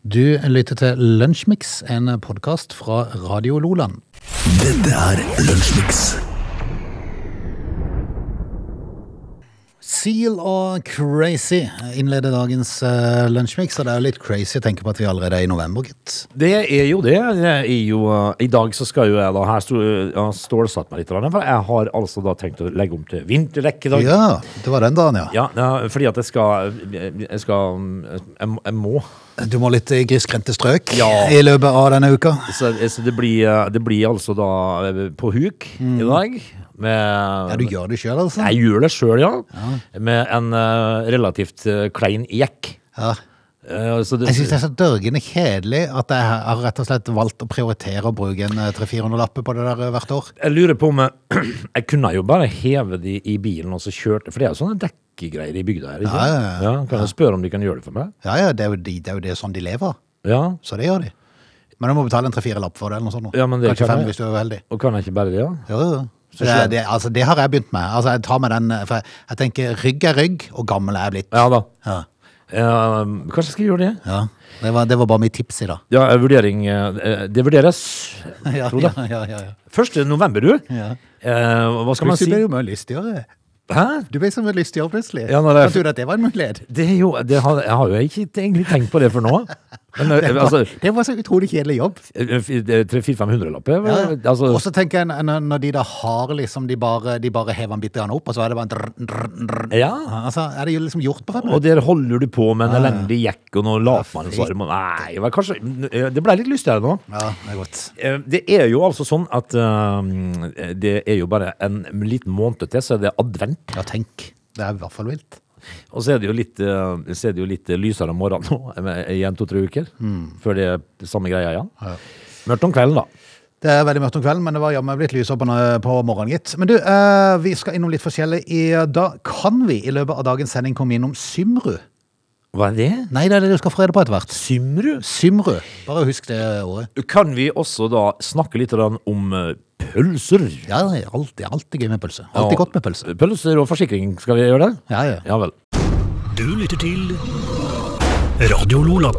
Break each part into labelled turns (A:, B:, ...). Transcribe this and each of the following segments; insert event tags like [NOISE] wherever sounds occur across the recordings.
A: Du lytter til Lunsjmix, en podkast fra Radio Loland.
B: Dette er Lunsjmix.
A: Seal og Crazy innleder dagens uh, Lunsjmix, og det er jo litt crazy å tenke på at vi allerede er i november, gitt.
C: Det er jo det. det er jo, eh, I dag så skal jo jeg da Her sto, ja, stålsatt meg litt, grann, for jeg har altså da tenkt å legge om til vinterrekke i dag. Ja.
A: Ja, det var den dagen, ja.
C: ja, fordi at jeg skal Jeg skal Jeg, må- jeg må.
A: Du må litt i grisgrendte strøk
C: Ja.
A: i løpet av denne uka.
C: Så, så det, blir, eh, det blir altså da eh, på huk i dag. Med
A: Ja, du gjør det sjøl, altså?
C: Jeg gjør det sjøl, ja. Med en eh, relativt eh, klein jekk.
A: Ja.
C: Eh, så det,
A: Jeg syns det er så dørgende kjedelig at jeg har rett og slett valgt å prioritere å bruke en eh, 300-400-lappe på det der eh, hvert år.
C: Jeg lurer på om jeg, [CLEARS THROAT] jeg kunne jo bare heve de i bilen og så kjørte For det er jo sånne dekkegreier i bygda her. Ikke?
A: Ja, ja, ja.
C: kan jeg spørre om de kan gjøre det for meg?
A: Ja ja, det er jo, de, det er jo det sånn de lever.
C: Ja,
A: Så det gjør de. Men du må betale en tre-fire lapp for det. eller noe sånt. nå.
C: Ja, men det
A: Kanskje
C: kan
A: fem
C: jeg.
A: hvis du er uheldig.
C: Og kan jeg ikke bare det, ja?
A: Jo, jo.
C: Så
A: Det,
C: slem.
A: det, altså, det har jeg begynt med. Altså, jeg tar med den, eh, for jeg, jeg tenker rygg er rygg, og gammel er jeg blitt.
C: Ja da.
A: Ja.
C: Eh, kanskje jeg skal gjøre det?
A: Ja. Det, var, det var bare mitt tips i dag.
C: Ja, eh, vurdering eh, Det vurderes.
A: [LAUGHS] Ja,
C: Frode.
A: ja, ja, ja, ja.
C: 1. november, du.
A: Ja.
C: Eh, hva skal man si?
A: Plutselig ble du mye lystigere.
C: Hæ?
A: Du ble så mye lystigere plutselig.
C: Ja, når det er-
A: Fant du ut at det var en mulighet?
C: Det er jo det har, Jeg har jo ikke egentlig tenkt på det for
A: [LAUGHS]
C: nå. Men eh, altså eh,
A: Det var så utrolig kjedelig jobb.
C: 300-400-500-lapper?
A: Ja.
C: Altså,
A: og så tenker jeg når- når de da har liksom De bare, de bare hever den bitte grann opp, og så er det bare en drr, drr, drr.
C: ja.
A: Altså, Er det jo liksom gjort på fem
C: Og
A: minutter?
C: der holder du på med en elendig jekk og noe latmannsarm. og- Nei, vel, kanskje Det ble litt lystigere nå.
A: Ja, det er godt.
C: Eh, Det er jo altså sånn at eh, det er jo bare en liten måned til, så er det advent.
A: Ja, tenk. Det er i hvert fall vilt.
C: Og så er det jo litt, eh, så er det jo litt lysere om morgenen nå, [LAUGHS] eh, igjen to-tre uker, før det er samme greia igjen.
A: Ja.
C: Mørkt om kvelden, da.
A: Det er veldig mørkt om kvelden, men det var jammen blitt lysere på, nå- på morgenen, gitt. Men du, eh, vi skal innom litt forskjellig. I, eh, da kan vi i løpet av dagens sending komme innom Symru.
C: Hva er det?
A: Nei, det er det du skal få rede på etter hvert.
C: Symru?
A: Symru. Bare husk det året.
C: Kan vi også da snakke litt grann om eh, pølser?
A: Ja, det er alltid, alltid gøy med pølse. Alltid godt med pølse.
C: Pølser og forsikring, skal vi gjøre det?
A: Ja, ja.
C: Ja vel.
B: Du lytter til Radio Lola.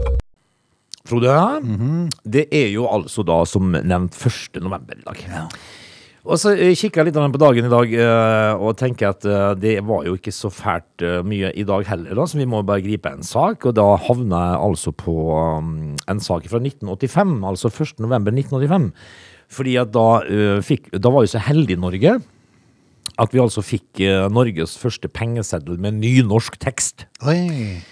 C: Frode, Mhm. det er jo altså da som nevnt 1. november i dag. Og så eh, kikker jeg litt grann på dagen i dag eh, og tenker at eh, det var jo ikke så fælt eh, mye i dag heller, da, så vi må bare gripe en sak. Og da havner jeg altså på um, en sak fra 1985, altså 1. november 1985. Fordi at da, eh, fikk, da var jo så heldig Norge at vi altså fikk eh, Norges første pengeseddel med nynorsk tekst.
A: Oi.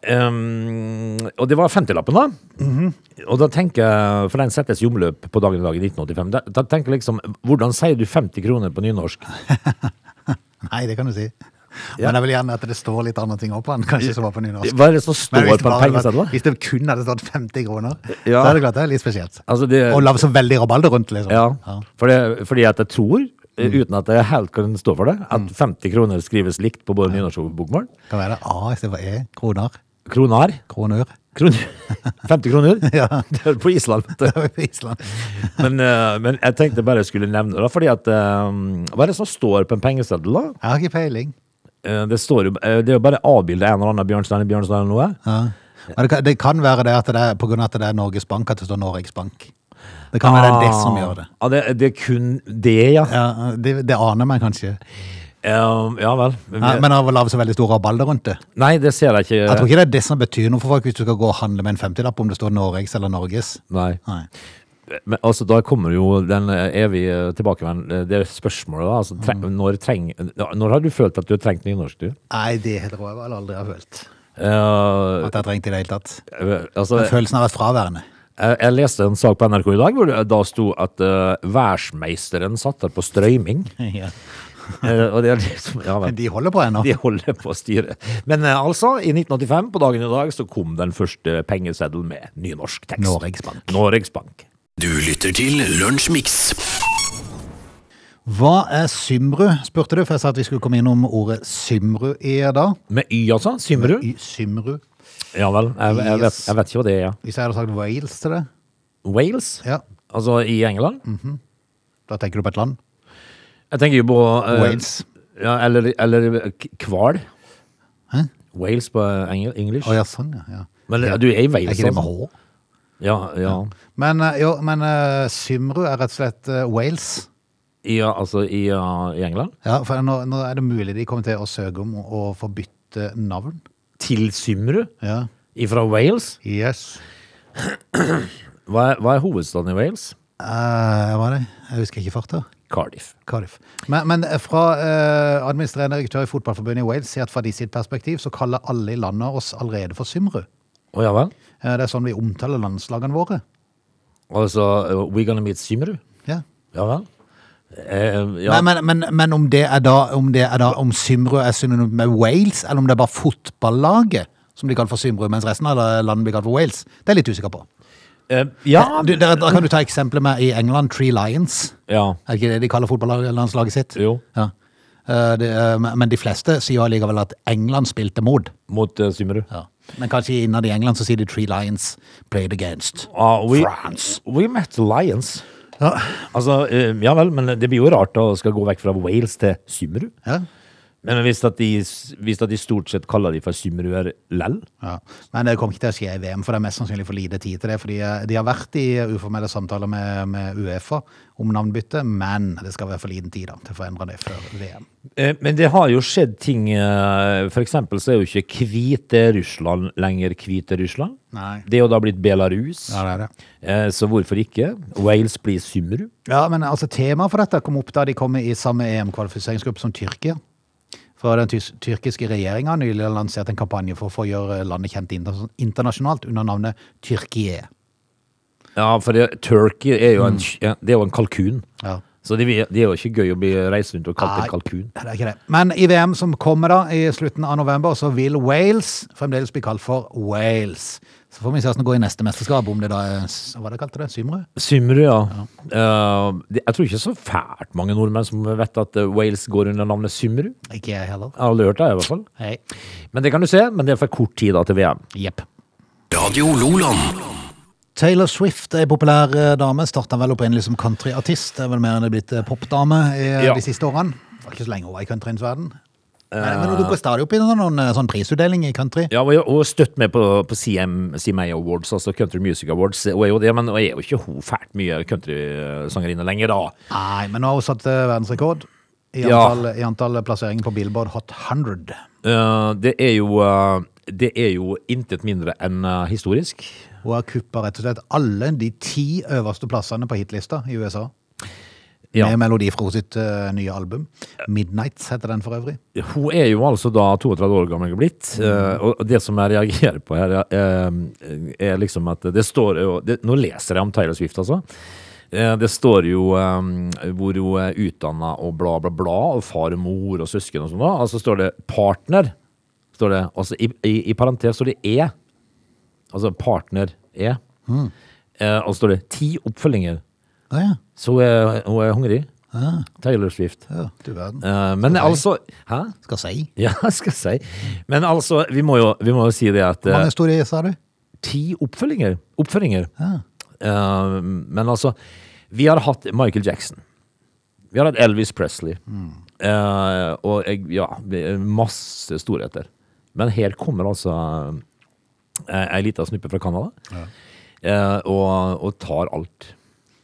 C: Um, og det var 50-lappen, da. Og da tenker jeg, for den settes i omløp på dagen i dag i 1985. Da, da tenker jeg liksom, hvordan sier du 50 kroner på nynorsk?
A: Nei, det kan du si.
C: Ja.
A: Men jeg vil gjerne at det står litt andre ting opp på den, kanskje som var på nynorsk.
C: Hva er det som
A: Men
C: står
A: hvis det,
C: på en
A: bare hadde
C: pengeseddel?
A: vært, hvis det kun hadde stått 50 kroner,
C: Ja.
A: så hadde det klart det er litt spesielt.
C: Altså det-
A: Og lagd så veldig rabalder rundt, liksom.
C: Ja, for det, fordi at jeg tror, eh,
A: Mm.
C: uten at jeg helt kan stå for det, at 50 kroner skrives likt på både nynorsk og bokmål.
A: Kan være det A istedenfor E. Kroner.
C: Kronar.
A: Kronør.
C: Kron 50 kroner.
A: [LAUGHS] Ja.
C: Det er på Island. vet du.
A: Det er jo Island.
C: Men, eh, men jeg tenkte bare jeg skulle nevne det, da, fordi at eh, Hva er det som står på en pengeseddel, da?
A: Jeg har ikke peiling.
C: Eh, Det, står jo, eh, det er jo bare avbildet en eller annen Bjørnstein i Bjørnstein eller noe.
A: Ja. Men det kan, det kan være det at det er på grunn av at det er Norges Bank at det står Norges Bank. Det kan være det, er det som gjør det.
C: Ah, det, det er kun det, ja.
A: Ja, det, det aner meg kanskje.
C: Eh, ja vel.
A: Ja, men av å lage så veldig stor rabalder rundt det.
C: Nei, det ser jeg
A: Jeg
C: ikke.
A: tror ikke det er det som betyr noe for folk hvis du skal gå og handle med en 50-lapp om det står Norges eller Norges.
C: Nei.
A: Nei.
C: Men altså, da kommer jo den eh, evige tilbakeveien, det er spørsmålet da. Altså, tre,
A: Mm.
C: når, treng, når har du følt at du har trengt nynorsk, du?
A: Nei, det tror jeg vel aldri jeg har følt.
C: Eh,
A: At jeg trengte i det hele tatt.
C: eh, altså, jeg,
A: Følelsen har vært
C: [LAUGHS]
A: fraværende.
C: jeg leste en sak på NRK i dag hvor det da sto at uh, værsmeisteren satte på strøyming.
A: [LAUGHS]
C: Eh, og det er liksom, ja vel.
A: Men de holder på ennå.
C: De holder på å styre. Men eh, altså, i 1985, på dagen i dag, så kom den første pengeseddelen med nynorsk tekst.
A: Norges Bank.
C: Norges Bank.
B: Du lytter til Lunsjmix.
A: Hva er Symru, spurte du, for jeg sa at vi skulle komme innom ordet Symru i dag.
C: Med Y, altså? Simrud?
A: I Symru.
C: Ja vel. Jeg, jeg, vet, jeg vet ikke hva det er. ja.
A: Hvis jeg hadde sagt Wales til det,
C: Wales?
A: ja,
C: Altså i England?
A: da tenker du på et land.
C: Jeg tenker jo på eh,
A: Wales.
C: Ja, eller, eller k- hval.
A: Hæ?
C: Wales på engel, engelsk.
A: Å ja, sånn, ja. ja.
C: Men eh, du er i
A: Er
C: Wales,
A: ikke det med H?
C: Ja, ja.
A: Men, eh, jo, men eh, Symru er rett og slett eh, Wales.
C: ja altså i, eh, i England.
A: Ja, for nå, nå er det mulig de kommer til å søke om å å få bytte navn.
C: Til Symru
A: Ja.
C: fra Wales.
A: Yes.
C: Hva er, hva er hovedstaden i Wales?
A: Eh, hva er det? Jeg husker ikke farta.
C: Cardiff.
A: Cardiff. Men, men fra eh, administrerende direktør i Fotballforbundet i Wales sier at fra de sitt perspektiv så kaller alle i landet oss allerede for Symru.
C: Å ja vel?
A: Eh, det er sånn vi omtaler landslagene våre.
C: Altså eh, We gonna meet Symru?
A: Ja.
C: Ja vel? Eh, ja.
A: Men, men, men, men om det er da om, det er da, om Symru er synonymt med Wales, eller om det er bare fotballaget som de kaller for Symru, mens resten av landet blir kalt for Wales, det er jeg litt usikker på.
C: Eh, ja.
A: Du, der, der kan du ta eksempelet med i England, Tree Lions.
C: ja.
A: Er det ikke det de kaller fotballandslaget sitt?
C: Jo.
A: Ja. Eh, Det, eh, men men de fleste sier jo allikevel at England spilte mot.
C: Mot eh, Symru.
A: Ja. Men kanskje innad i England så sier de Tree Lions played against.
C: Ah, we,
A: France.
C: We met Lions.
A: Ja.
C: Altså, eh, ja vel, men det blir jo rart å skal gå vekk fra Wales til Symru.
A: Ja.
C: Men hvis at de, hvis at de stort sett kaller de for symruer lell
A: Ja. Men det kommer ikke til å skje i VM, for det er mest sannsynlig for lite tid til det. fordi eh, de har vært i uformelle samtaler med, med Uefa om navnbytte, men det skal være for liten tid da, til å få endra det før VM.
C: Eh, Men det har jo skjedd ting eh, For eksempel så er jo ikke hvite Russland lenger hvite Russland.
A: Nei.
C: Det er jo da blitt Belarus.
A: Ja, det er det.
C: Eh, Så hvorfor ikke? Wales blir Symru.
A: Ja, men altså Temaet for dette kom opp da de kom i samme EM-kvalifiseringsgruppe som Tyrkia. For den tys- tyrkiske regjeringa har nylig lansert en kampanje for å få gjøre landet kjent inter internasjonalt under navnet Tyrkie.
C: Ja, for det, Turkey er
A: Mm.
C: jo en, ja, det er jo en kalkun.
A: Ja.
C: Så det, vil- det er jo ikke gøy å bli reist rundt og kalt
A: Nei.
C: en kalkun.
A: Det er ikke det. Men i VM som kommer da i slutten av november, så vil Wales fremdeles bli kalt for Wales. Så får vi se hvordan det går i neste mesterskap, om det da er s- Hva var det kalte det? Symre?
C: Symru, ja. Eh, det, jeg tror ikke så fælt mange nordmenn som vet at eh, Wales går under navnet Symru. Jeg
A: Ikke jeg heller.
C: har aldri hørt det, i hvert fall.
A: Hei.
C: Men det kan du se, men det er for kort tid da til VM.
A: Jepp.
B: Radio Loland.
A: Taylor Swift er en populær eh, dame. Starta vel opprinnelig som countryartist. Det er vel mer enn det er blitt eh, popdame i eh,
C: Ja.
A: de siste årene. Det var ikke så lenge hun var i countryens verden. Men, men hun dukker stadig opp i noen, noen eh, sånn prisutdeling i country.
C: Eh. Ja, og, og støtt med på, på CM, CMA Awards, altså Country Music Awards. Hun er jo det, men hun er jo ikke hun fælt mye countrysangerinne lenger, da.
A: Nei, men nå har hun satt eh, verdensrekord i
C: Ja.
A: antall, i antall plasseringer på Billboard Hot 100.
C: Eh, det er jo eh, det er jo intet mindre enn eh, historisk.
A: Hun har kuppa rett og slett alle de ti øverste plassene på hitlista i USA.
C: Ja.
A: Med melodi fra sitt eh, nye album. 'Midnights' heter den for øvrig.
C: Hun er jo altså da 32 år gammel blitt, eh, og det som jeg reagerer på her, eh, er liksom at det står jo det, Nå leser jeg om Taylor Swift, altså. Eh, Det står jo eh, hvor hun er utdanna og bla, bla, bla, og far og mor og søsken og sånn, da. Og så står det 'partner'. Står det, altså i, i, I parentes står det 'e'. Altså 'partner e'. Eh, Og så står det 'ti oppfølginger'.
A: Å ja.
C: Så hun er, hun er hungrig. Taylor Swift.
A: ja. Du verden.
C: Eh, Men altså Hæ?
A: Skal si.
C: [LAUGHS] Ja, skal jeg si. Men altså, vi må jo, vi må jo si det at
A: Hvor
C: eh,
A: mange sto det i, sa du?
C: ti oppfølginger, oppfølginger. Eh, men altså, vi har hatt Michael Jackson. Vi har hatt Elvis Presley. Eh, og jeg- ja, vi- masse storheter. Men her kommer altså eh, ei lita snuppe fra Canada eh, og, og tar alt.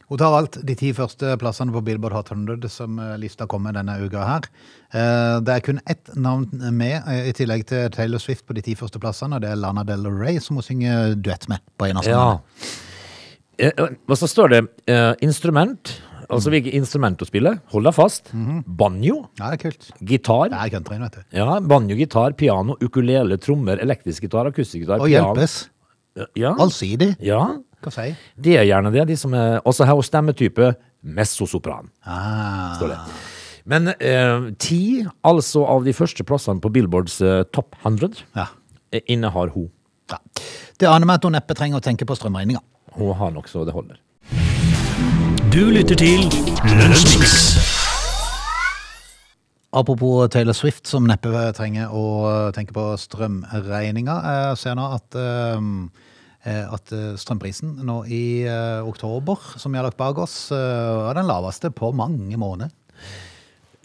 A: Hun tar alt de ti første plassene på Billboard Hot 100 som eh, lista kommer denne uka her. Eh, Det er kun ett navn med, eh, i tillegg til Taylor Swift på de ti første plassene, og det er Lana Del Rey som hun synger duett med på en av sangene.
C: Eh, eh, og så står det eh, instrument. Altså hvilket instrument å spille. Hold deg fast. Banjo.
A: Ja, det er kult.
C: Gitar.
A: Det er countryen, vet du.
C: Ja, banjo, gitar, piano, ukulele, trommer, elektrisk gitar, akustisk gitar.
A: Og
C: piano.
A: hjelpes.
C: Ja.
A: Allsidig.
C: ja,
A: Hva sier jeg?
C: de er gjerne det. De som er, også her hos stemmetype messosopran.
A: Ah.
C: står det. Men eh, ti, altså av de første plassene på Billboards eh, Top 100,
A: Ja.
C: eh, innehar hun.
A: ja. Det aner meg at hun neppe trenger å tenke på strømregninga.
C: Hun har nok så det holder.
B: Du lytter til Lunsjmix.
A: Apropos Taylor Swift, som neppe trenger å eh, tenke på strømregninga. Jeg ser nå at, eh, at strømprisen nå i eh, oktober, som vi har lagt bak oss, eh, var den laveste på mange måneder.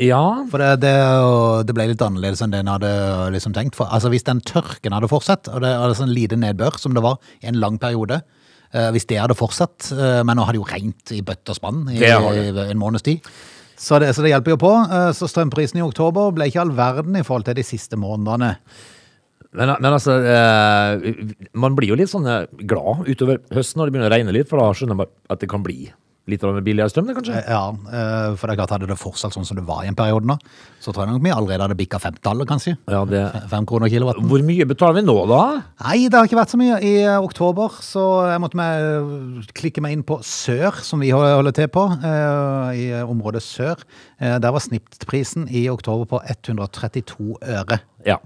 C: Ja.
A: For det, det, og det ble litt annerledes enn det en hadde liksom tenkt. For, altså, hvis den tørken hadde fortsatt, og det hadde sånn lite nedbør som det var i en lang periode eh, Hvis det hadde fortsatt, eh, men nå har det jo regnet i bøtt og spann i,
C: Det har
A: i
C: det.
A: en måneds tid. Så det, så det hjelper jo på. Eh, Så strømprisen i oktober ble ikke all verden i forhold til de siste månedene.
C: Men, men altså, eh, man blir jo litt sånn eh, glad utover høsten når det begynner å regne litt, for da skjønner man at det kan bli litt av en billigere strøm, det kanskje?
A: Eh, Ja, eh, for det er klart hadde det fortsatt sånn som det var i en periode nå, så tror jeg nok vi allerede hadde bikka femtallet, kanskje.
C: Ja, det...
A: Fem kroner kilowatten.
C: Hvor mye betaler vi nå, da?
A: Nei, det har ikke vært så mye i eh, oktober, så jeg måtte meg, klikke meg inn på sør, som vi hol- holder til på, eh, i eh, området sør. Eh, Der var snittprisen i oktober på 132 øre.
C: Ja.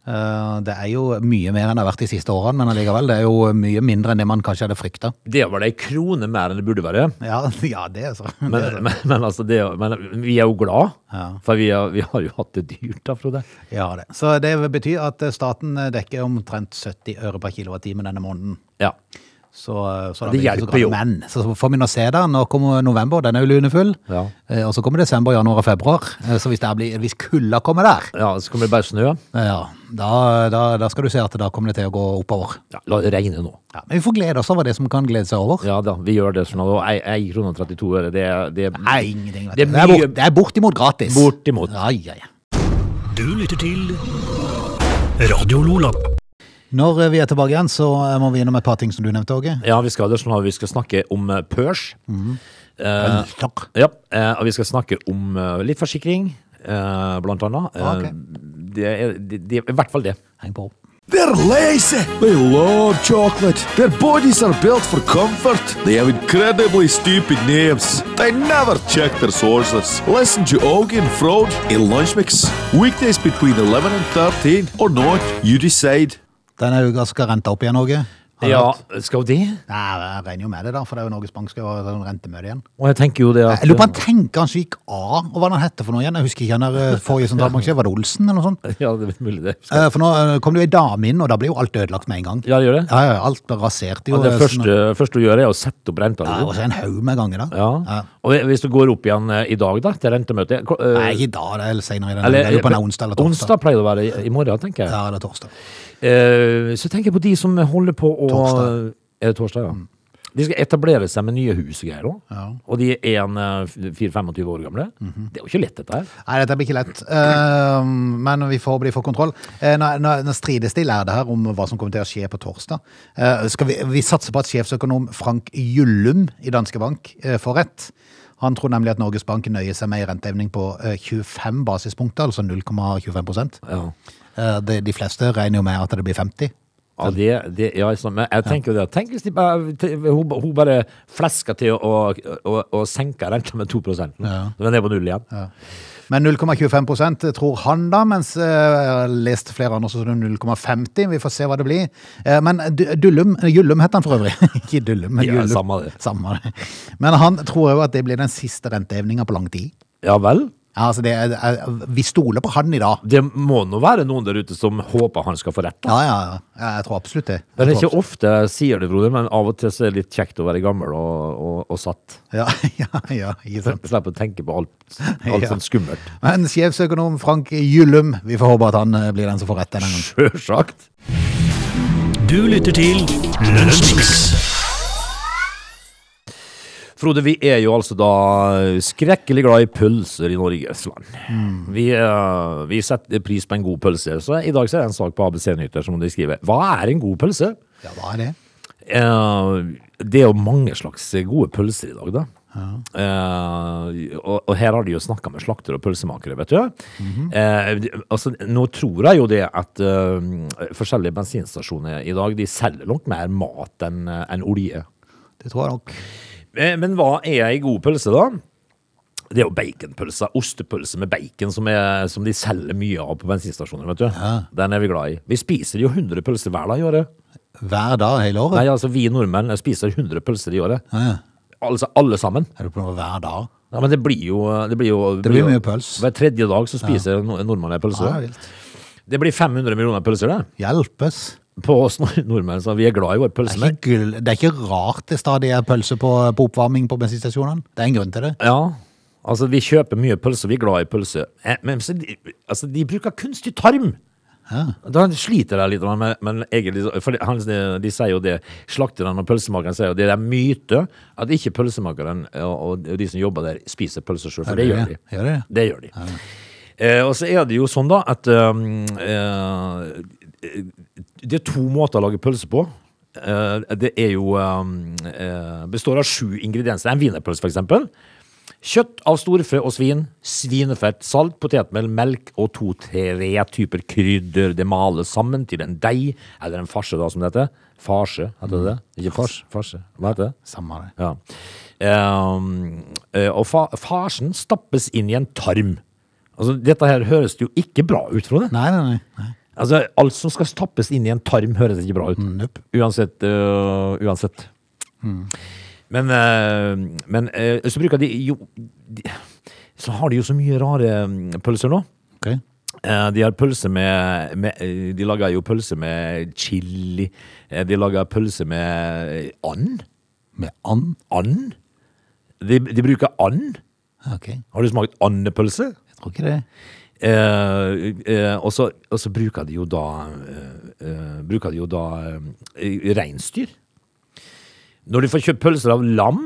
A: Eh, Det er jo mye mer enn det har vært de siste årene, men allikevel, det er jo mye mindre enn det man kanskje hadde frykta.
C: Det var det ei krone mer enn det burde være.
A: [LAUGHS] Ja, ja, det er så.
C: Men, men, men, altså det, er jo- men vi er jo glad,
A: Ja.
C: for vi, er, vi har jo hatt det dyrt da, Frode.
A: Ja, det. Så det betyr at eh, staten eh, dekker omtrent 70 øre per kilowattime denne måneden.
C: Ja.
A: Så, så da
C: Det
A: blir ikke så
C: hjelper jo.
A: galt. Men så får vi nå se, da. Nå kommer november, den er jo lunefull.
C: Ja.
A: Eh, Og så kommer desember, januar og februar. Eh, Så hvis, det her blir, hvis kulda kommer der,
C: ja, så kommer det bare snø.
A: eh, ja, da, da, da skal du se at da kommer det til å gå oppover.
C: Ja, la det regne nå.
A: Ja, men vi får glede oss over det som kan glede seg over.
C: Ja da, vi gjør det sånn. Og 1 krone og 32 øre, det, er- det er-
A: Nei, ingenting. Vet du.
C: Det
A: Det,
C: er
A: er
C: mye-
A: bort, det er bortimot gratis.
C: Bortimot.
A: Ja, ja, ja.
B: Du lytter til Radio Lola.
A: Når eh, vi er tilbake igjen, så eh, må vi innom et par ting som du nevnte, Åge.
C: Ja, vi skal det sånn at vi skal snakke om eh, børs. Eh,
A: Takk.
C: ja, eh, og vi skal snakke om eh, litt forsikring, eh, blant annet. Eh,
A: Ok.
C: det, er, det, det er i hvert fall det.
A: Heng på.
D: They're lazy. They love chocolate. Their bodies are built for comfort. They have incredibly stupid names. They never check their sources. Listen to Augie and Frode in Lunch Mix. Weekdays between 11 and 13 or not, you decide.
A: Denne uka skal renta opp igjen, Åge. Har du
C: Ja,
A: hørt?
C: skal det?
A: Nei, jeg regner jo med det, da, for det er jo Norges Bank skal jo ha sånn rentemøte igjen.
C: Og jeg tenker jo det at
A: Jeg lurer på han tenker han gikk av, og hva han hette for noe igjen. Jeg husker ikke han der eh, forrige som talbanksjef, var det Olsen eller noe sånt?
C: [LAUGHS] Ja, det er mulig det.
A: Eh, For nå eh, kom det jo ei dame inn, og da ble jo alt ødelagt med en gang.
C: Ja, det gjør det.
A: Ja, ja, alt ble rasert jo.
C: Og det
A: eh, sånn-
C: første, første du gjør, er å sette opp renta.
A: Ja,
C: liksom.
A: og så en haug med ganger, da.
C: Ja. Og hvis du går opp igjen eh, i dag da, til rentemøtet ko- eh,
A: Nei, ikke i dag, det er senere i den
C: eller-
A: Jeg lurer på om det er onsdag eller torsdag.
C: Onsdag pleier det å være i- i morgen, tenker jeg.
A: Ja, eller torsdag.
C: Eh, Så tenker jeg på de som holder på å
A: Torsdag. Mm.
C: Er det torsdag, ja? De skal etablere seg med nye hus og greier òg.
A: Ja. Mhm.
C: Og de er en 4-25 år gamle. Det er jo ikke lett, dette her.
A: Nei, dette blir ikke lett. Eh, men vi får bli for kontroll. Eh, nå, nå, nå strides de lærde her om hva som kommer til å skje på torsdag. Eh, skal vi, vi satser på at sjefsøkonom Frank Gyllum i Danske Bank eh, får rett. Han tror nemlig at Norges Bank nøyer seg med en renteevning på eh, 25 basispunkter, altså 0,25
C: Ja.
A: eh, de, de fleste regner jo med at det blir 50.
C: Ja, det, det, ja, sånn, men jeg tenker jo det. Tenk hvis de bare, te- hun, ba- hun bare flesker til å, å, å, å senke renta med 2
A: Ja.
C: Så den er på null igjen.
A: Men 0,25 tror han da, mens eh, jeg har lest flere andre som tror 0,50. Vi får se hva det blir. Eh, Men Du- Dullum, eh, Gyllum heter han for øvrig. [LAUGHS] Ikke Dullum, men
C: Ja,
A: Gyllum.
C: samme det.
A: Samme det. Men han tror jo at det blir den siste renteevninga på lang tid.
C: Ja vel?
A: Ja, Altså det er, er- vi stoler på han i dag.
C: Det må nå være noen der ute som håper han skal få rett. da.
A: Ja, ja, ja. Jeg tror absolutt det.
C: Det er
A: Jeg tror
C: ikke ofte jeg sier det, Frode, men av og til så er det litt kjekt å være gammel og, og, og satt.
A: abs- Ja, [LAUGHS] ja, ja, ikke sant.
C: Slipp å tenke på alt, alt [LAUGHS]
A: Ja.
C: sånt skummelt.
A: Men sjefsøkonom Frank Gyllum, vi får håpe at han eh, blir den som får rett denne gangen.
C: Sjølsagt.
B: Du lytter til Lunsjmix.
C: Frode, vi er jo altså da skrekkelig glad i pølser i Norges land. Vi, eh, vi setter pris på en god pølse. Så i dag så er det en sak på ABC Nyheter som de skriver. Hva er en god pølse?
A: Ja, hva er det?
C: Eh, det er jo mange slags gode pølser i dag, da. Eh, og, og her har de jo snakka med slakter og pølsemakere, vet du. Eh, de- altså, nå tror jeg jo det at eh, forskjellige bensinstasjoner i dag de selger langt mer mat enn enn olje.
A: Det tror jeg nok.
C: Eh, Men hva er ei god pølse, da? Det er jo baconpølser. Ostepølse med bacon, som, er, som de selger mye av på bensinstasjoner. vet du. Den er vi glad i. Vi spiser jo 100 pølser hver dag i året.
A: Hver dag hele året?
C: Nei, altså vi nordmenn spiser 100 pølser i året.
A: Ja, ja.
C: Altså alle sammen.
A: Er det på noe hver dag?
C: Ja, men det blir jo Det blir, jo,
A: Det blir
C: jo-
A: mye pøls.
C: Hver tredje dag så spiser no- nordmenn en pølse.
A: Ja, vilt.
C: det blir 500 millioner pølser, det.
A: Hjelpes.
C: På oss nord- nordmenn, så vi er glad i vår
A: Det
C: pølse.
A: er, ikke gull, det er ikke rart det stadig er pølse på, på oppvarming på bensinstasjonene. Det er en grunn til det.
C: Ja, Altså, vi kjøper mye pølser, vi er glad i pølser. Eh, Men så, de- altså, de bruker kunstig tarm! Da sliter jeg litt, med, men egentlig, så- for han, de sier jo det, slakteren og pølsemakeren sier jo det, det er myte at ikke pølsemakeren og, og de som jobber der spiser pølser selv, for
A: Er
C: det
A: det
C: gjør de.
A: det? Gjør de det?
C: Det gjør de. Eh, og så er det jo sånn da at um, eh, det er to måter å lage pølse på. Eh, det er jo um, eh, består av sju ingredienser. En wienerpølse, for eksempel. Kjøtt av storfe og svin, svinefett, salt, potetmel, melk og to-tre typer krydder. Det males sammen til en deig, eller en farse, da, som det heter. Farse, heter det det? Ikke fars, farse. Hva heter det?
A: Samme det.
C: Ja. Ehm, eh, og fa farsen stappes inn i en tarm. Altså, dette her høres jo ikke bra ut, Frode.
A: Nei, nei, nei. nei.
C: Altså, alt som skal stappes inn i en tarm, høres ikke bra ut.
A: Nope.
C: Uansett. øh, uansett. Men, øh, men øh, så bruker de jo de, Så har de jo så mye rare mm, pølser nå.
A: Ok.
C: Eh, De har pølse med, med eh, De lager jo pølse med chili. Eh, De lager pølse med eh, and.
A: Med and.
C: And? De, de bruker and.
A: Ok, jeg
C: Har du smakt andepølse?
A: tror ikke det.
C: Eh, eh, og så og så bruker de jo da eh, eh, Bruker de jo da eh, reinsdyr. Når du får kjøpt pølser av lam,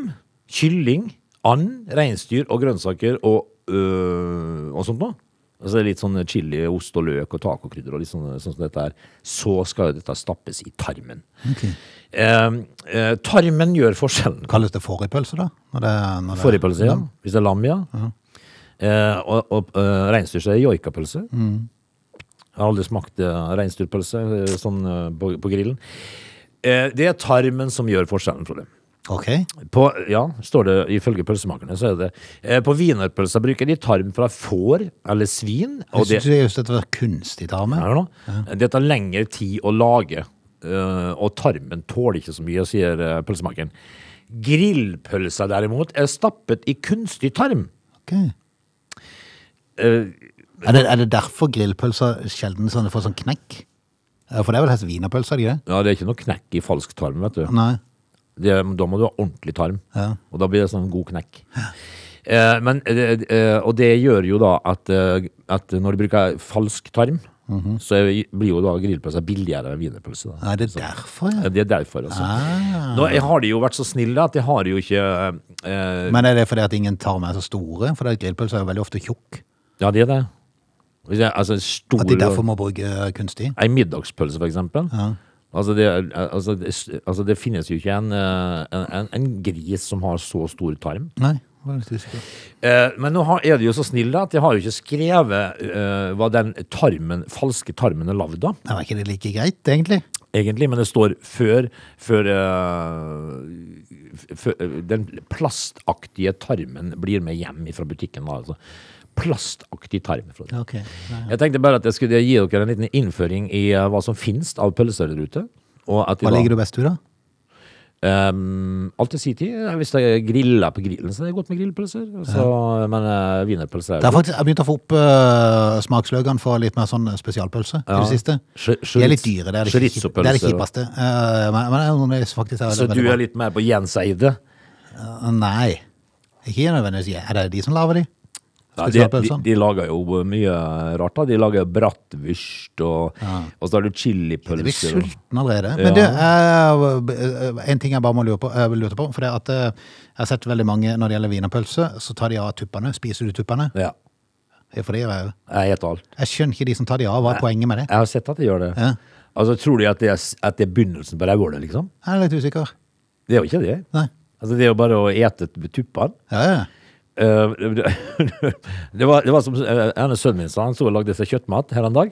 C: kylling, and, reinsdyr og grønnsaker og, øh, og sånt noe Altså litt sånn chili, ost og løk og tacokrydder og litt sånn, sånn som dette her. Så skal jo dette stappes i tarmen. Eh, eh, tarmen gjør forskjellen.
A: Kalles det fårikpølse, da? Når det, når det,
C: Fårikpølse, ja. Hvis det er lam, ja. Eh, og og eh, reinsdyr så er det joikapølse. Jeg har aldri smakt eh, reinsdyrpølse eh, sånn eh, på, på grillen. Eh, det er tarmen som gjør forskjellen, Frode.
A: Ok.
C: På, ja, står det ifølge pølsemakerne, så er det eh, På wienerpølsa bruker de tarm fra får eller svin.
A: Jeg
C: Og det,
A: synes det er just dette var kunstig tarme.
C: er det nå? Det tar lengre tid å lage, eh, og tarmen tåler ikke så mye, sier eh, pølsemakeren. Grillpølsa derimot er stappet i kunstig tarm.
A: Ok.
C: Eh,
A: Er det, er det derfor grillpølser sjelden sånn, får sånn knekk? Eh, For det er vel helst wienerpølser, er det ikke
C: Ja, det er ikke noe knekk i falsk tarm, vet du.
A: det? Nei.
C: Det, da må du ha ordentlig tarm,
A: Ja.
C: og da blir det sånn god knekk. Eh, men, eh, eh, og det gjør jo da at, eh, at når du bruker falsk tarm,
A: Mhm.
C: så er- blir jo da grillpølsa billigere enn wienerpølse. da.
A: Nei, det er derfor,
C: Ja,
A: ja.
C: Det er derfor, altså.
A: Ah.
C: Nå jeg har de jo vært så snille at de har jo ikke eh,
A: Men er det fordi at ingen tarmer er så store? For det at grillpølser er jo veldig ofte tjukk.
C: Ja, de er det. Hvis jeg- Altså, stor
A: At de derfor må bruke eh, kunstig?
C: Ei middagspølse, for eksempel. Altså det, er- altså, det, altså, det finnes jo ikke en, eh, en, en, en gris som har så stor tarm.
A: Nei. jeg var litt usikker.
C: Eh, men nå har, er de jo så snille da, at de har jo ikke skrevet eh, hva den tarmen, falske tarmen er lagd av,
A: Nei, var ikke det like greit, egentlig?
C: egentlig. Men det står før, før, eh, f- før eh, den plastaktige tarmen blir med hjem fra butikken. Da, altså. Plastaktig tarm. Frode.
A: Ok. Nei.
C: Jeg tenkte bare at jeg skulle gi dere en liten innføring i eh, hva som finnes av pølser der ute. Og at de
A: Hva
C: da-
A: ligger du best ut, da?
C: Um, alltid si til eh, hvis det er grilla på grillen, så er det godt med grillpølser. og så- Men uh, wienerpølser
A: Det
C: er
A: har faktisk, jeg har begynt å få opp uh, smaksløkene for litt mer sånn spesialpølse i det siste. De
C: Sj-
A: er
C: choriz-
A: litt dyre, det er det, kjip- det, er det
C: chorizo-pølser,
A: kjipeste. Eh, men, men det er noen som faktisk er
C: Så
A: veldig
C: du
A: bra.
C: er litt mer på Jenseide?
A: Nei, ikke nødvendigvis. jeg. Er det de som lager de?
C: Ja, de, de,
A: Spesialpølsene?
C: de lager jo mye rart, da. De lager bratwurst, og, og så har du
A: Jeg blir
C: chilipølser. og-
A: sulten allerede. Men du, eh, eh, en ting jeg bare må lure på, eh, lure på for det er at eh, jeg har sett veldig mange når det gjelder wienerpølse, så tar de av tuppene. Spiser du tuppene?
C: Ja.
A: For det gjør jeg jo.
C: Jeg spiser alt.
A: Jeg skjønner ikke de som tar de av. Hva er poenget med det?
C: Jeg har sett at de gjør det.
A: Ja.
C: Altså, Tror de at det er, s- at det er begynnelsen på rævhålet, liksom?
A: Jeg er litt usikker.
C: Det er jo ikke det.
A: Nei.
C: Altså, Det er jo bare å ete t- tuppene.
A: Ja, ja.
C: Eh, [LAUGHS] det, var, det var som eh, ene sønnen min sa, han sto og lagde seg kjøttmat her en dag.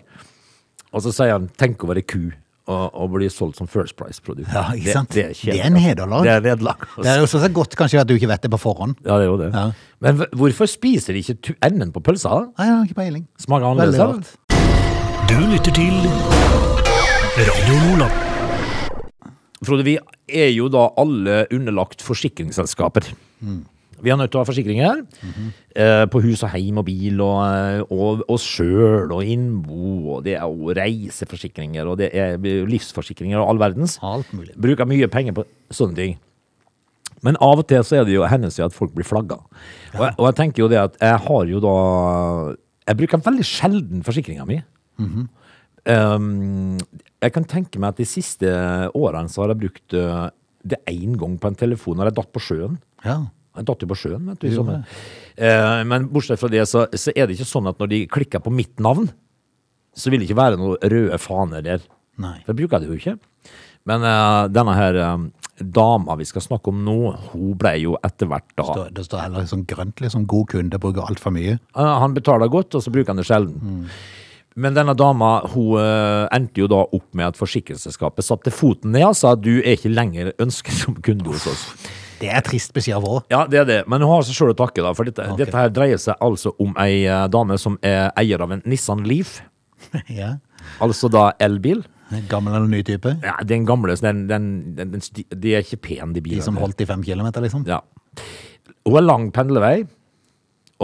C: Og så sier han 'tenk å være ku' og, og bli solgt som First Price-produkt.
A: Ja, ikke sant?
C: Det, det, er
A: Det er en
C: kjedelig,
A: nederlag.
C: altså. Det er nederlag. altså.
A: Det er jo sånn sett godt kanskje at du ikke vet det på forhånd.
C: Ja, det er jo det.
A: Ja.
C: Men hv- hvorfor spiser de ikke tu- enden på pølsa? da?
A: Nei, jeg har ikke peiling.
C: Smaker
A: Veldig
C: annerledes. da?
A: rart.
B: Du lytter til Radio Lola.
C: Frode, vi er jo da alle underlagt forsikringsselskaper. Vi er nødt til å ha forsikringer eh, på hus og heim og bil og, eh, og oss sjøl og innbo, og det er jo reiseforsikringer, og det er livsforsikringer og all verdens.
A: Alt mulig.
C: Bruker mye penger på sånne ting. Men av og til så er det jo hendelser at folk blir flagga. Og jeg, og jeg tenker jo det at jeg har jo da Jeg bruker veldig sjelden forsikringa mi. Um, jeg kan tenke meg at de siste årene så har jeg brukt uh, det én gang på en telefon når jeg datt på sjøen.
A: Ja.
C: Jeg datt jo på sjøen, vet du. i sommer. Eh, men bortsett fra det, så, så er det ikke sånn at når de klikker på mitt navn, så vil det ikke være noen røde faner der.
A: Nei.
C: For jeg bruker det jo ikke. Men eh, denne her eh, dama vi skal snakke om nå, hun ble jo etter hvert da
A: Det, det står heller sånn grønt, liksom. God kunde bruker altfor mye.
C: Eh, Han betaler godt, og så bruker han det
A: Mm.
C: sjelden. Men denne dama hun eh, endte jo da opp med at forsikringsselskapet satte foten ned og sa at du er ikke lenger ønsket som kunde hos oss.
A: Det er trist beskjed å få.
C: Ja, det er det. Men hun har seg sjøl å takke, da. For dette,
A: Ok.
C: dette her dreier seg altså om ei eh, dame som er eier av en Nissan Leaf.
A: [LAUGHS] Ja.
C: Altså da elbil.
A: Gammel eller ny type?
C: Ja, den gamle, så den, den, den, den sti- De er ikke pene, de
A: De
C: bilene.
A: som holdt i fem kilometer, liksom?
C: Ja. Hun har lang pendlevei,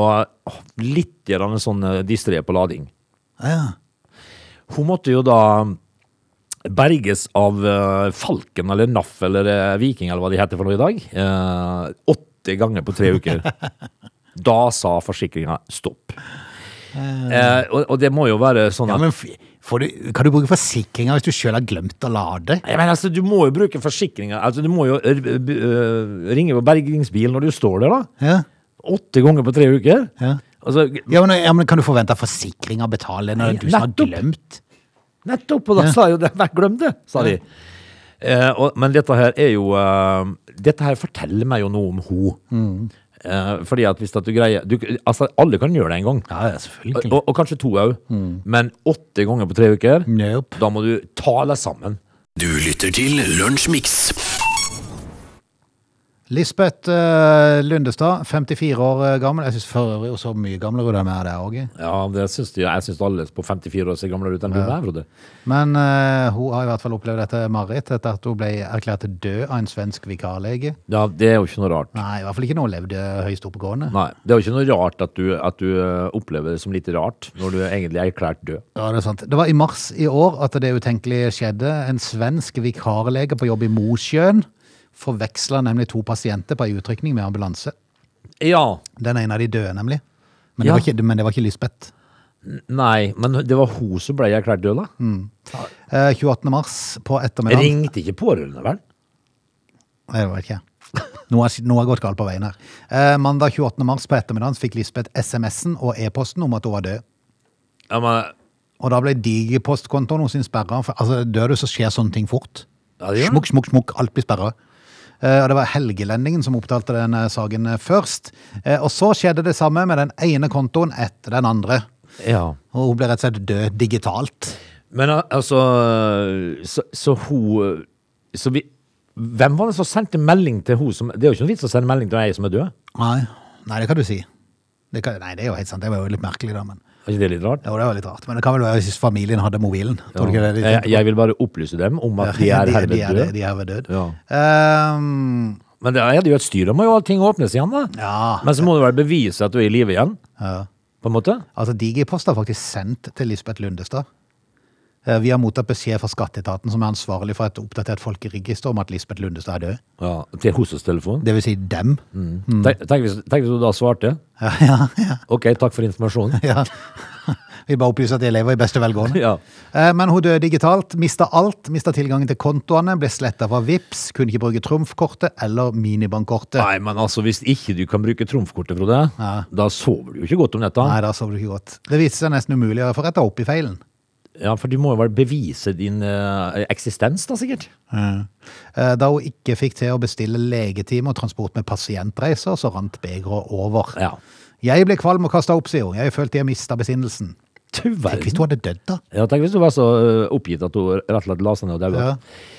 C: og åh, litt grann sånn eh, distré på lading.
A: Ja.
C: Hun måtte jo da berges av eh, Falken eller NAF eller eh, Viking eller hva de heter for noe i dag. Eh, åtte ganger på tre uker.
A: [LAUGHS]
C: da sa forsikringa stopp. Eh, og, og det må jo være sånn
A: Ja,
C: at
A: men f- får du, kan du bruke forsikringer hvis du sjøl har glemt å lade?
C: Nei, men altså, Du må jo bruke forsikringa. Altså, du må jo eh, b- eh, ringe på bergingsbil når du står der, da.
A: Ja.
C: Åtte ganger på tre uker.
A: Ja.
C: Altså,
A: Ja, men, ja, men Kan du forvente at forsikringa betaler når
C: Nei,
A: du som har
C: nettopp.
A: glemt?
C: Nettopp, og da
A: Ja.
C: sa jo det, «Nei, glem det, sa de. Eh, og, men dette her er jo eh, Dette her forteller meg jo noe om ho. Eh, fordi at hvis at du greier du, Altså, alle kan gjøre det en gang.
A: Ja, ja,
C: Og,
A: selvfølgelig.
C: og, og kanskje to òg. Men åtte ganger på tre uker,
A: Nope.
C: da må du ta deg sammen.
B: Du lytter til Lunsjmix.
A: Lisbeth eh, Lundestad, 54 år eh, gammel. Jeg syns for øvrig hun så mye gamlere ut enn meg, det òg.
C: Ja, det syns de, Jeg syns alle på 54 år ser gamlere ut enn hun er, Frode.
A: Men eh, hun har i hvert fall opplevd dette mareritt etter at hun ble erklært død av en svensk vikarlege.
C: Ja, det er jo ikke noe rart.
A: Nei, i hvert fall ikke når hun levde høyst oppegående.
C: Nei, Det er jo ikke noe rart at du, at du eh, opplever det som litt rart når du egentlig er erklært død.
A: Ja, det, er sant. det var i mars i år at det utenkelige skjedde. En svensk vikarlege på jobb i Mosjøen forveksla nemlig to pasienter på ei utrykning med ambulanse.
C: Ja,
A: Den ene av de døde, nemlig. Men det,
C: Ja.
A: var ikke, men det var ikke Lisbeth.
C: Nei, men det var hun som ble erklært død, da.
A: Eh, 28. mars på ettermiddagen
C: Ringte ikke pårørende, vel?
A: Nei, det var ikke jeg. Noe har, noe har gått galt på veien her. Eh, mandag 28. mars på ettermiddagen fikk Lisbeth SMS-en og e-posten om at hun var død.
C: Ja, men,
A: Og da ble digipostkontoen hos sin sperra. For, altså, dør du, så skjer sånne ting fort.
C: Ja, det gjør det.
A: smukk, smukk, smukk. Alt blir sperra. Eh, og det var Helgelendingen som opptalte den eh, saken eh, først. Eh, og så skjedde det samme med den ene kontoen etter den andre.
C: ja.
A: Og hun ble rett og slett død digitalt.
C: men al- altså Så, så hun Så vi Hvem var det som sendte melding til hun som Det er jo ikke noe vits å sende melding til ei som er død.
A: Nei, nei det kan du si. Det kan, nei, det er jo helt sant. Det var jo litt merkelig, da. Men,
C: Er ikke det litt rart?
A: jo, det var litt rart. men det kan vel være hvis familien hadde mobilen. Tror du ikke det? er litt-
C: jeg, jeg vil bare opplyse dem om at de
A: Ja,
C: er herved
A: de er det,
C: døde.
A: de er herved død.
C: Ja.
A: Ehm,
C: Men det er det jo et styr. Da må jo ting åpnes igjen, da.
A: Ja.
C: Men så må du vel bevise at du er i live igjen. På en måte.
A: altså, Digipost har faktisk sendt til Lisbeth Lundestad. Eh, Vi har mottatt beskjed fra skatteetaten som er ansvarlig for et oppdatert folkeregister om at Lisbeth Lundestad er død.
C: Ja, til hennes telefon.
A: Det vil si dem.
C: Mm. Tenk, tenk, hvis, tenk hvis du da svarte.
A: Mm. Ja, ja, ja,
C: Ok, takk
A: [LAUGHS]
C: for informasjonen.
A: ja. Vi bare opplyser at de lever i beste velgående.
C: [LAUGHS] Ja.
A: Eh, Men hun døde digitalt, mista alt, mista tilgangen til kontoene, ble sletta fra VIPS, kunne ikke bruke trumfkortet eller minibankkortet.
C: Nei, men altså, hvis ikke du kan bruke trumfkortet, Frode, da sover du jo ikke godt om netta.
A: Nei, da sov du ikke godt. Det viste seg nesten umulig å få retta opp i feilen.
C: Ja, for du må jo vel bevise din eh, eksistens, da, sikkert.
A: Eh, Da hun ikke fikk til å bestille legetime og transport med pasientreiser, så rant begeret over.
C: Ja.
A: Jeg ble kvalm og kasta opp, sier hun. Jeg følte jeg mista besinnelsen.
C: Du
A: Tenk hvis
C: verden.
A: hun hadde dødd, da.
C: Ja, tenk hvis du var så eh, oppgitt at du rett og slett la seg ned og daua.
A: Ja.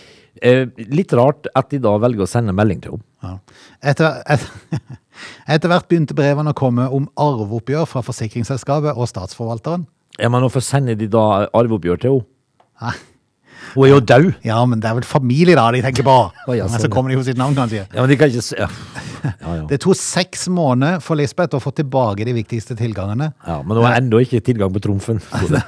C: Eh, litt rart at de da velger å sende melding til henne.
A: Ja. Etter, et, [LAUGHS] etter hvert begynte brevene å komme om arveoppgjør fra forsikringsselskapet og statsforvalteren.
C: Ja, men hvorfor sender de da arveoppgjør til henne?
A: Hæ?
C: Hun er jo død!
A: Ja, men det er vel familie, da, de tenker på.
C: [LAUGHS] Å, ja,
A: Men
C: sånn,
A: så
C: ja.
A: kommer de jo sitt navn, kanskje.
C: Ja, men de kan ikke se... Ja, ja. ja.
A: Det tok seks måneder for Lisbeth å få tilbake de viktigste tilgangene. [LAUGHS]
C: ja men hun har ennå ikke tilgang på trumfen. Frode.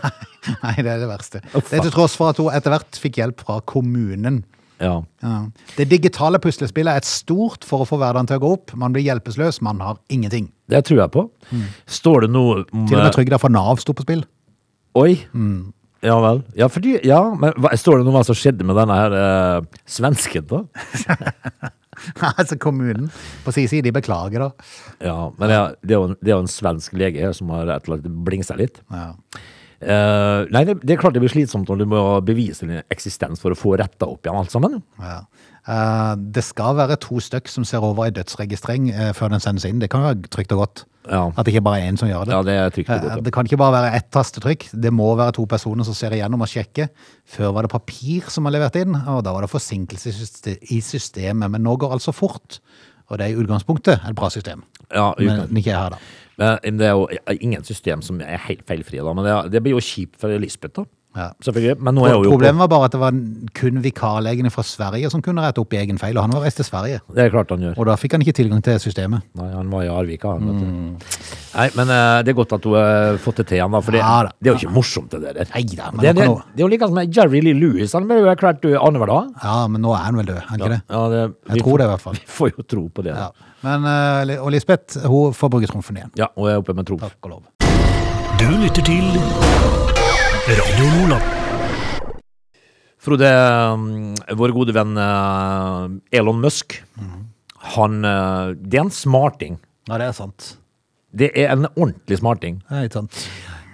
A: Nei, det er det verste.
C: Å, faen.
A: Det er til tross for at hun etter hvert fikk hjelp fra kommunen.
C: Ja.
A: Ja. Det digitale puslespillet er et stort for å få hverdagen til å gå opp. Man blir hjelpeløs, man har ingenting.
C: Det tror jeg på. Står det noe om
A: Mm. Til og med
C: eh,
A: Trygda fra Nav sto på spill. [LAUGHS]
C: Oi.
A: Mm.
C: Ja vel. Ja, fordi, ja, men hva, står det noe om hva som skjedde med denne her eh, svensken, da?
A: altså kommunen på sin side, de beklager da.
C: Ja, men ja, det, er jo en, det er jo en svensk lege her som har rett og slett blingsa litt.
A: Ja.
C: Eh, nei, det, det er klart det blir slitsomt når du må bevise din eksistens for å få retta opp igjen alt sammen.
A: Ja. Eh, det skal være to stykk som ser over i dødsregistrering eh, før den sendes inn. Det kan være trygt og godt.
C: Ja.
A: At det ikke bare er én som gjør det.
C: Ja, det er trygt og
A: Eh,
C: godt, ja.
A: det kan ikke bare være ett tastetrykk. Det må være to personer som ser igjennom og sjekker. Før var det papir som var levert inn, og da var det forsinkelse i syste- i systemet. Men nå går alt så fort. Og det er i utgangspunktet et bra system.
C: Ja, i
A: Men ikke her, da.
C: Men eh, det er jo ingen system som er helt feilfrie, da. Men det, det blir jo kjipt for Lisbeth, da.
A: Ja.
C: Selvfølgelig. Men nå er hun jo på,
A: Problemet var bare at det var kun vikarlegene fra Sverige som kunne rette opp i egen feil, og han var reist til Sverige.
C: Det er klart han gjør.
A: Og da fikk han ikke tilgang til systemet.
C: Nei, han var i Arvika, han. vet du. Nei, men eh, det er godt at hun har fått det til igjen, da. For det,
A: Mm. Ja, da.
C: det er jo ikke morsomt, det der.
A: Neida, men
C: det,
A: nå
C: det,
A: kan hun-
C: det er jo like som med Jerry Lee Lewis. Han ble jo erklært død annenhver dag.
A: Ja, men nå er han vel død, er han ikke det?
C: Ja, det, vi
A: Jeg
C: får-
A: tror det, i hvert fall.
C: Vi får jo tro på det.
A: Ja.
C: da.
A: Men, eh, Li- og Lisbeth, hun får bruke trumfen igjen.
C: Ja, og jeg er oppe med tro.
A: Takk og lov.
B: Du lytter til Radio Lola.
C: Frode, mm, vår gode venn eh, Elon Musk, han eh, Det er en smarting.
A: Ja, det er sant.
C: Det er en ordentlig smarting.
A: Det er litt sant.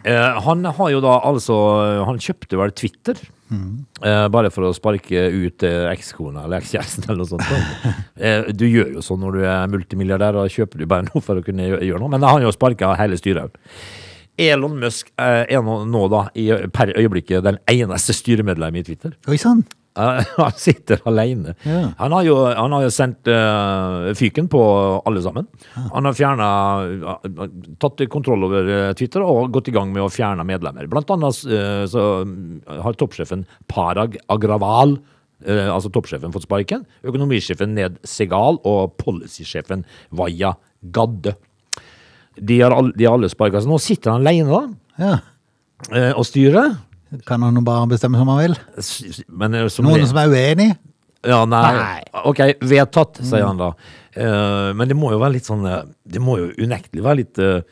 C: Eh, han har jo da altså Han kjøpte vel Twitter. Eh, bare for å sparke ut eh, ekskona eller ekskjæresten eller noe sånt. eh, du gjør jo sånn når du er multimilliardær, da kjøper du bare noe for å kunne gjø- gjøre noe. Men han har jo sparka hele styret. Elon Musk eh, er nå, nå da i, per øyeblikket den eneste styremedlemmet i Twitter.
A: Oi sann!
C: Eh, [LAUGHS] han sitter alene.
A: Ja.
C: Han, har jo, han har jo sendt eh, fyken på alle sammen. Han har fjernet, eh, tatt kontroll over eh, Twitter og gått i gang med å fjerne medlemmer. Blant annet eh, så har toppsjefen Parag Agraval eh, altså toppsjefen fått sparken, økonomisjefen Ned Segal og policysjefen Vaya Gadde. De har, all, de har alle sparka, så nå sitter han alene da,
A: Ja.
C: eh, og styrer.
A: Kan han jo bare bestemme som han vil?
C: S- s- Men, eh, som
A: Noen
C: det-
A: som er uenig?
C: Ja, nei. Mm.
A: Nei.
C: Ok, vedtatt, sier han da. Eh, men det må jo være litt sånn eh, Det må jo unektelig være litt eh,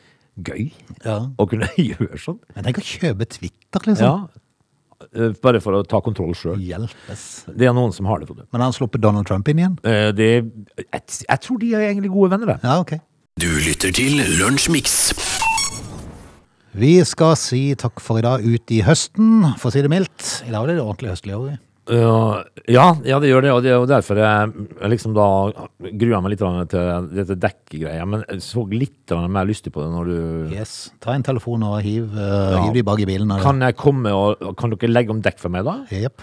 C: gøy
A: Ja.
C: å kunne [LAUGHS] gjøre sånn.
A: Men tenk å kjøpe Twitter, liksom.
C: Ja. Eh, bare for å ta kontroll sjøl.
A: Hjelpes.
C: Det er noen som har det for det.
A: Men har han sluppet Donald Trump inn igjen?
C: Eh, det jeg, jeg tror de er egentlig gode venner, det.
A: Ja, ok.
B: Du lytter til Lunsjmix.
A: Vi skal si takk for i dag ut i høsten, for å si det mildt. I dag var det det ordentlig høstlige året.
C: Eh, ja, ja, det gjør det, og det er jo derfor jeg jeg liksom da gruer meg litt grann til dette dekkegreia. Men jeg så litt grann mer lystig på det når du
A: Yes. Ta en telefon og hiv, eh, hiv de bak i bilen. og-
C: Kan jeg komme og Kan dere legge om dekk for meg, da?
A: Jep.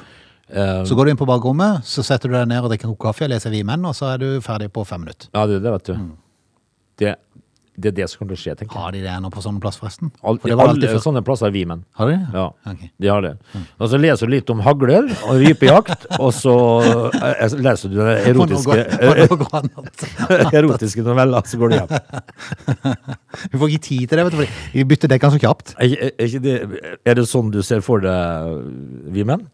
C: Eh,
A: Så går du inn på bakrommet, så setter du deg ned og drikker en kopp kaffe og leser Vi menn, og så er du ferdig på fem minutter.
C: Ja, det er det, vet du.
A: Mm.
C: Det, det er det som kommer til å skje, tenker jeg.
A: Har de det nå på sånne plass, forresten?
C: Al-
A: For det var alltid
C: alle
A: før.
C: sånne plasser er vi menn.
A: Har de det? [LAUGHS]
C: Ja,
A: Ok. Mm.
C: de har det. Og så leser du litt om hagler og rypejakt, og så eh, leser du den
A: Må nå gå-
C: erotiske,
A: [LAUGHS] må nå gå annet.
C: [LAUGHS] erotiske noveller, så går du hjem.
A: Vi får ikke tid til det, vet du, fordi vi bytter dekkene så kjapt.
C: Er, er, er ikke det, er det sånn du ser for deg vi menn?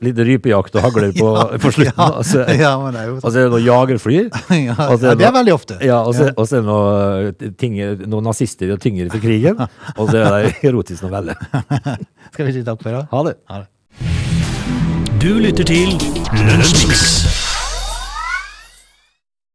C: Litt rypejakt og hagler på, på slutten,
A: [LAUGHS]
C: altså.
A: Ja, ja,
C: og så
A: men det er jo sånn.
C: og så er det noe jagerfly.
A: [LAUGHS] Ja,
C: og så
A: ja, det er
C: noe-
A: veldig ofte.
C: Ja, og så og så er det noe, eh, ting, noen nazister og tyngre for
A: [LAUGHS]
C: krigen, og så er det erotisk novelle. Altså-
A: Skal vi si takk for i dag?
C: Ha det.
A: Ha det.
B: Du lytter til Lunsjmix.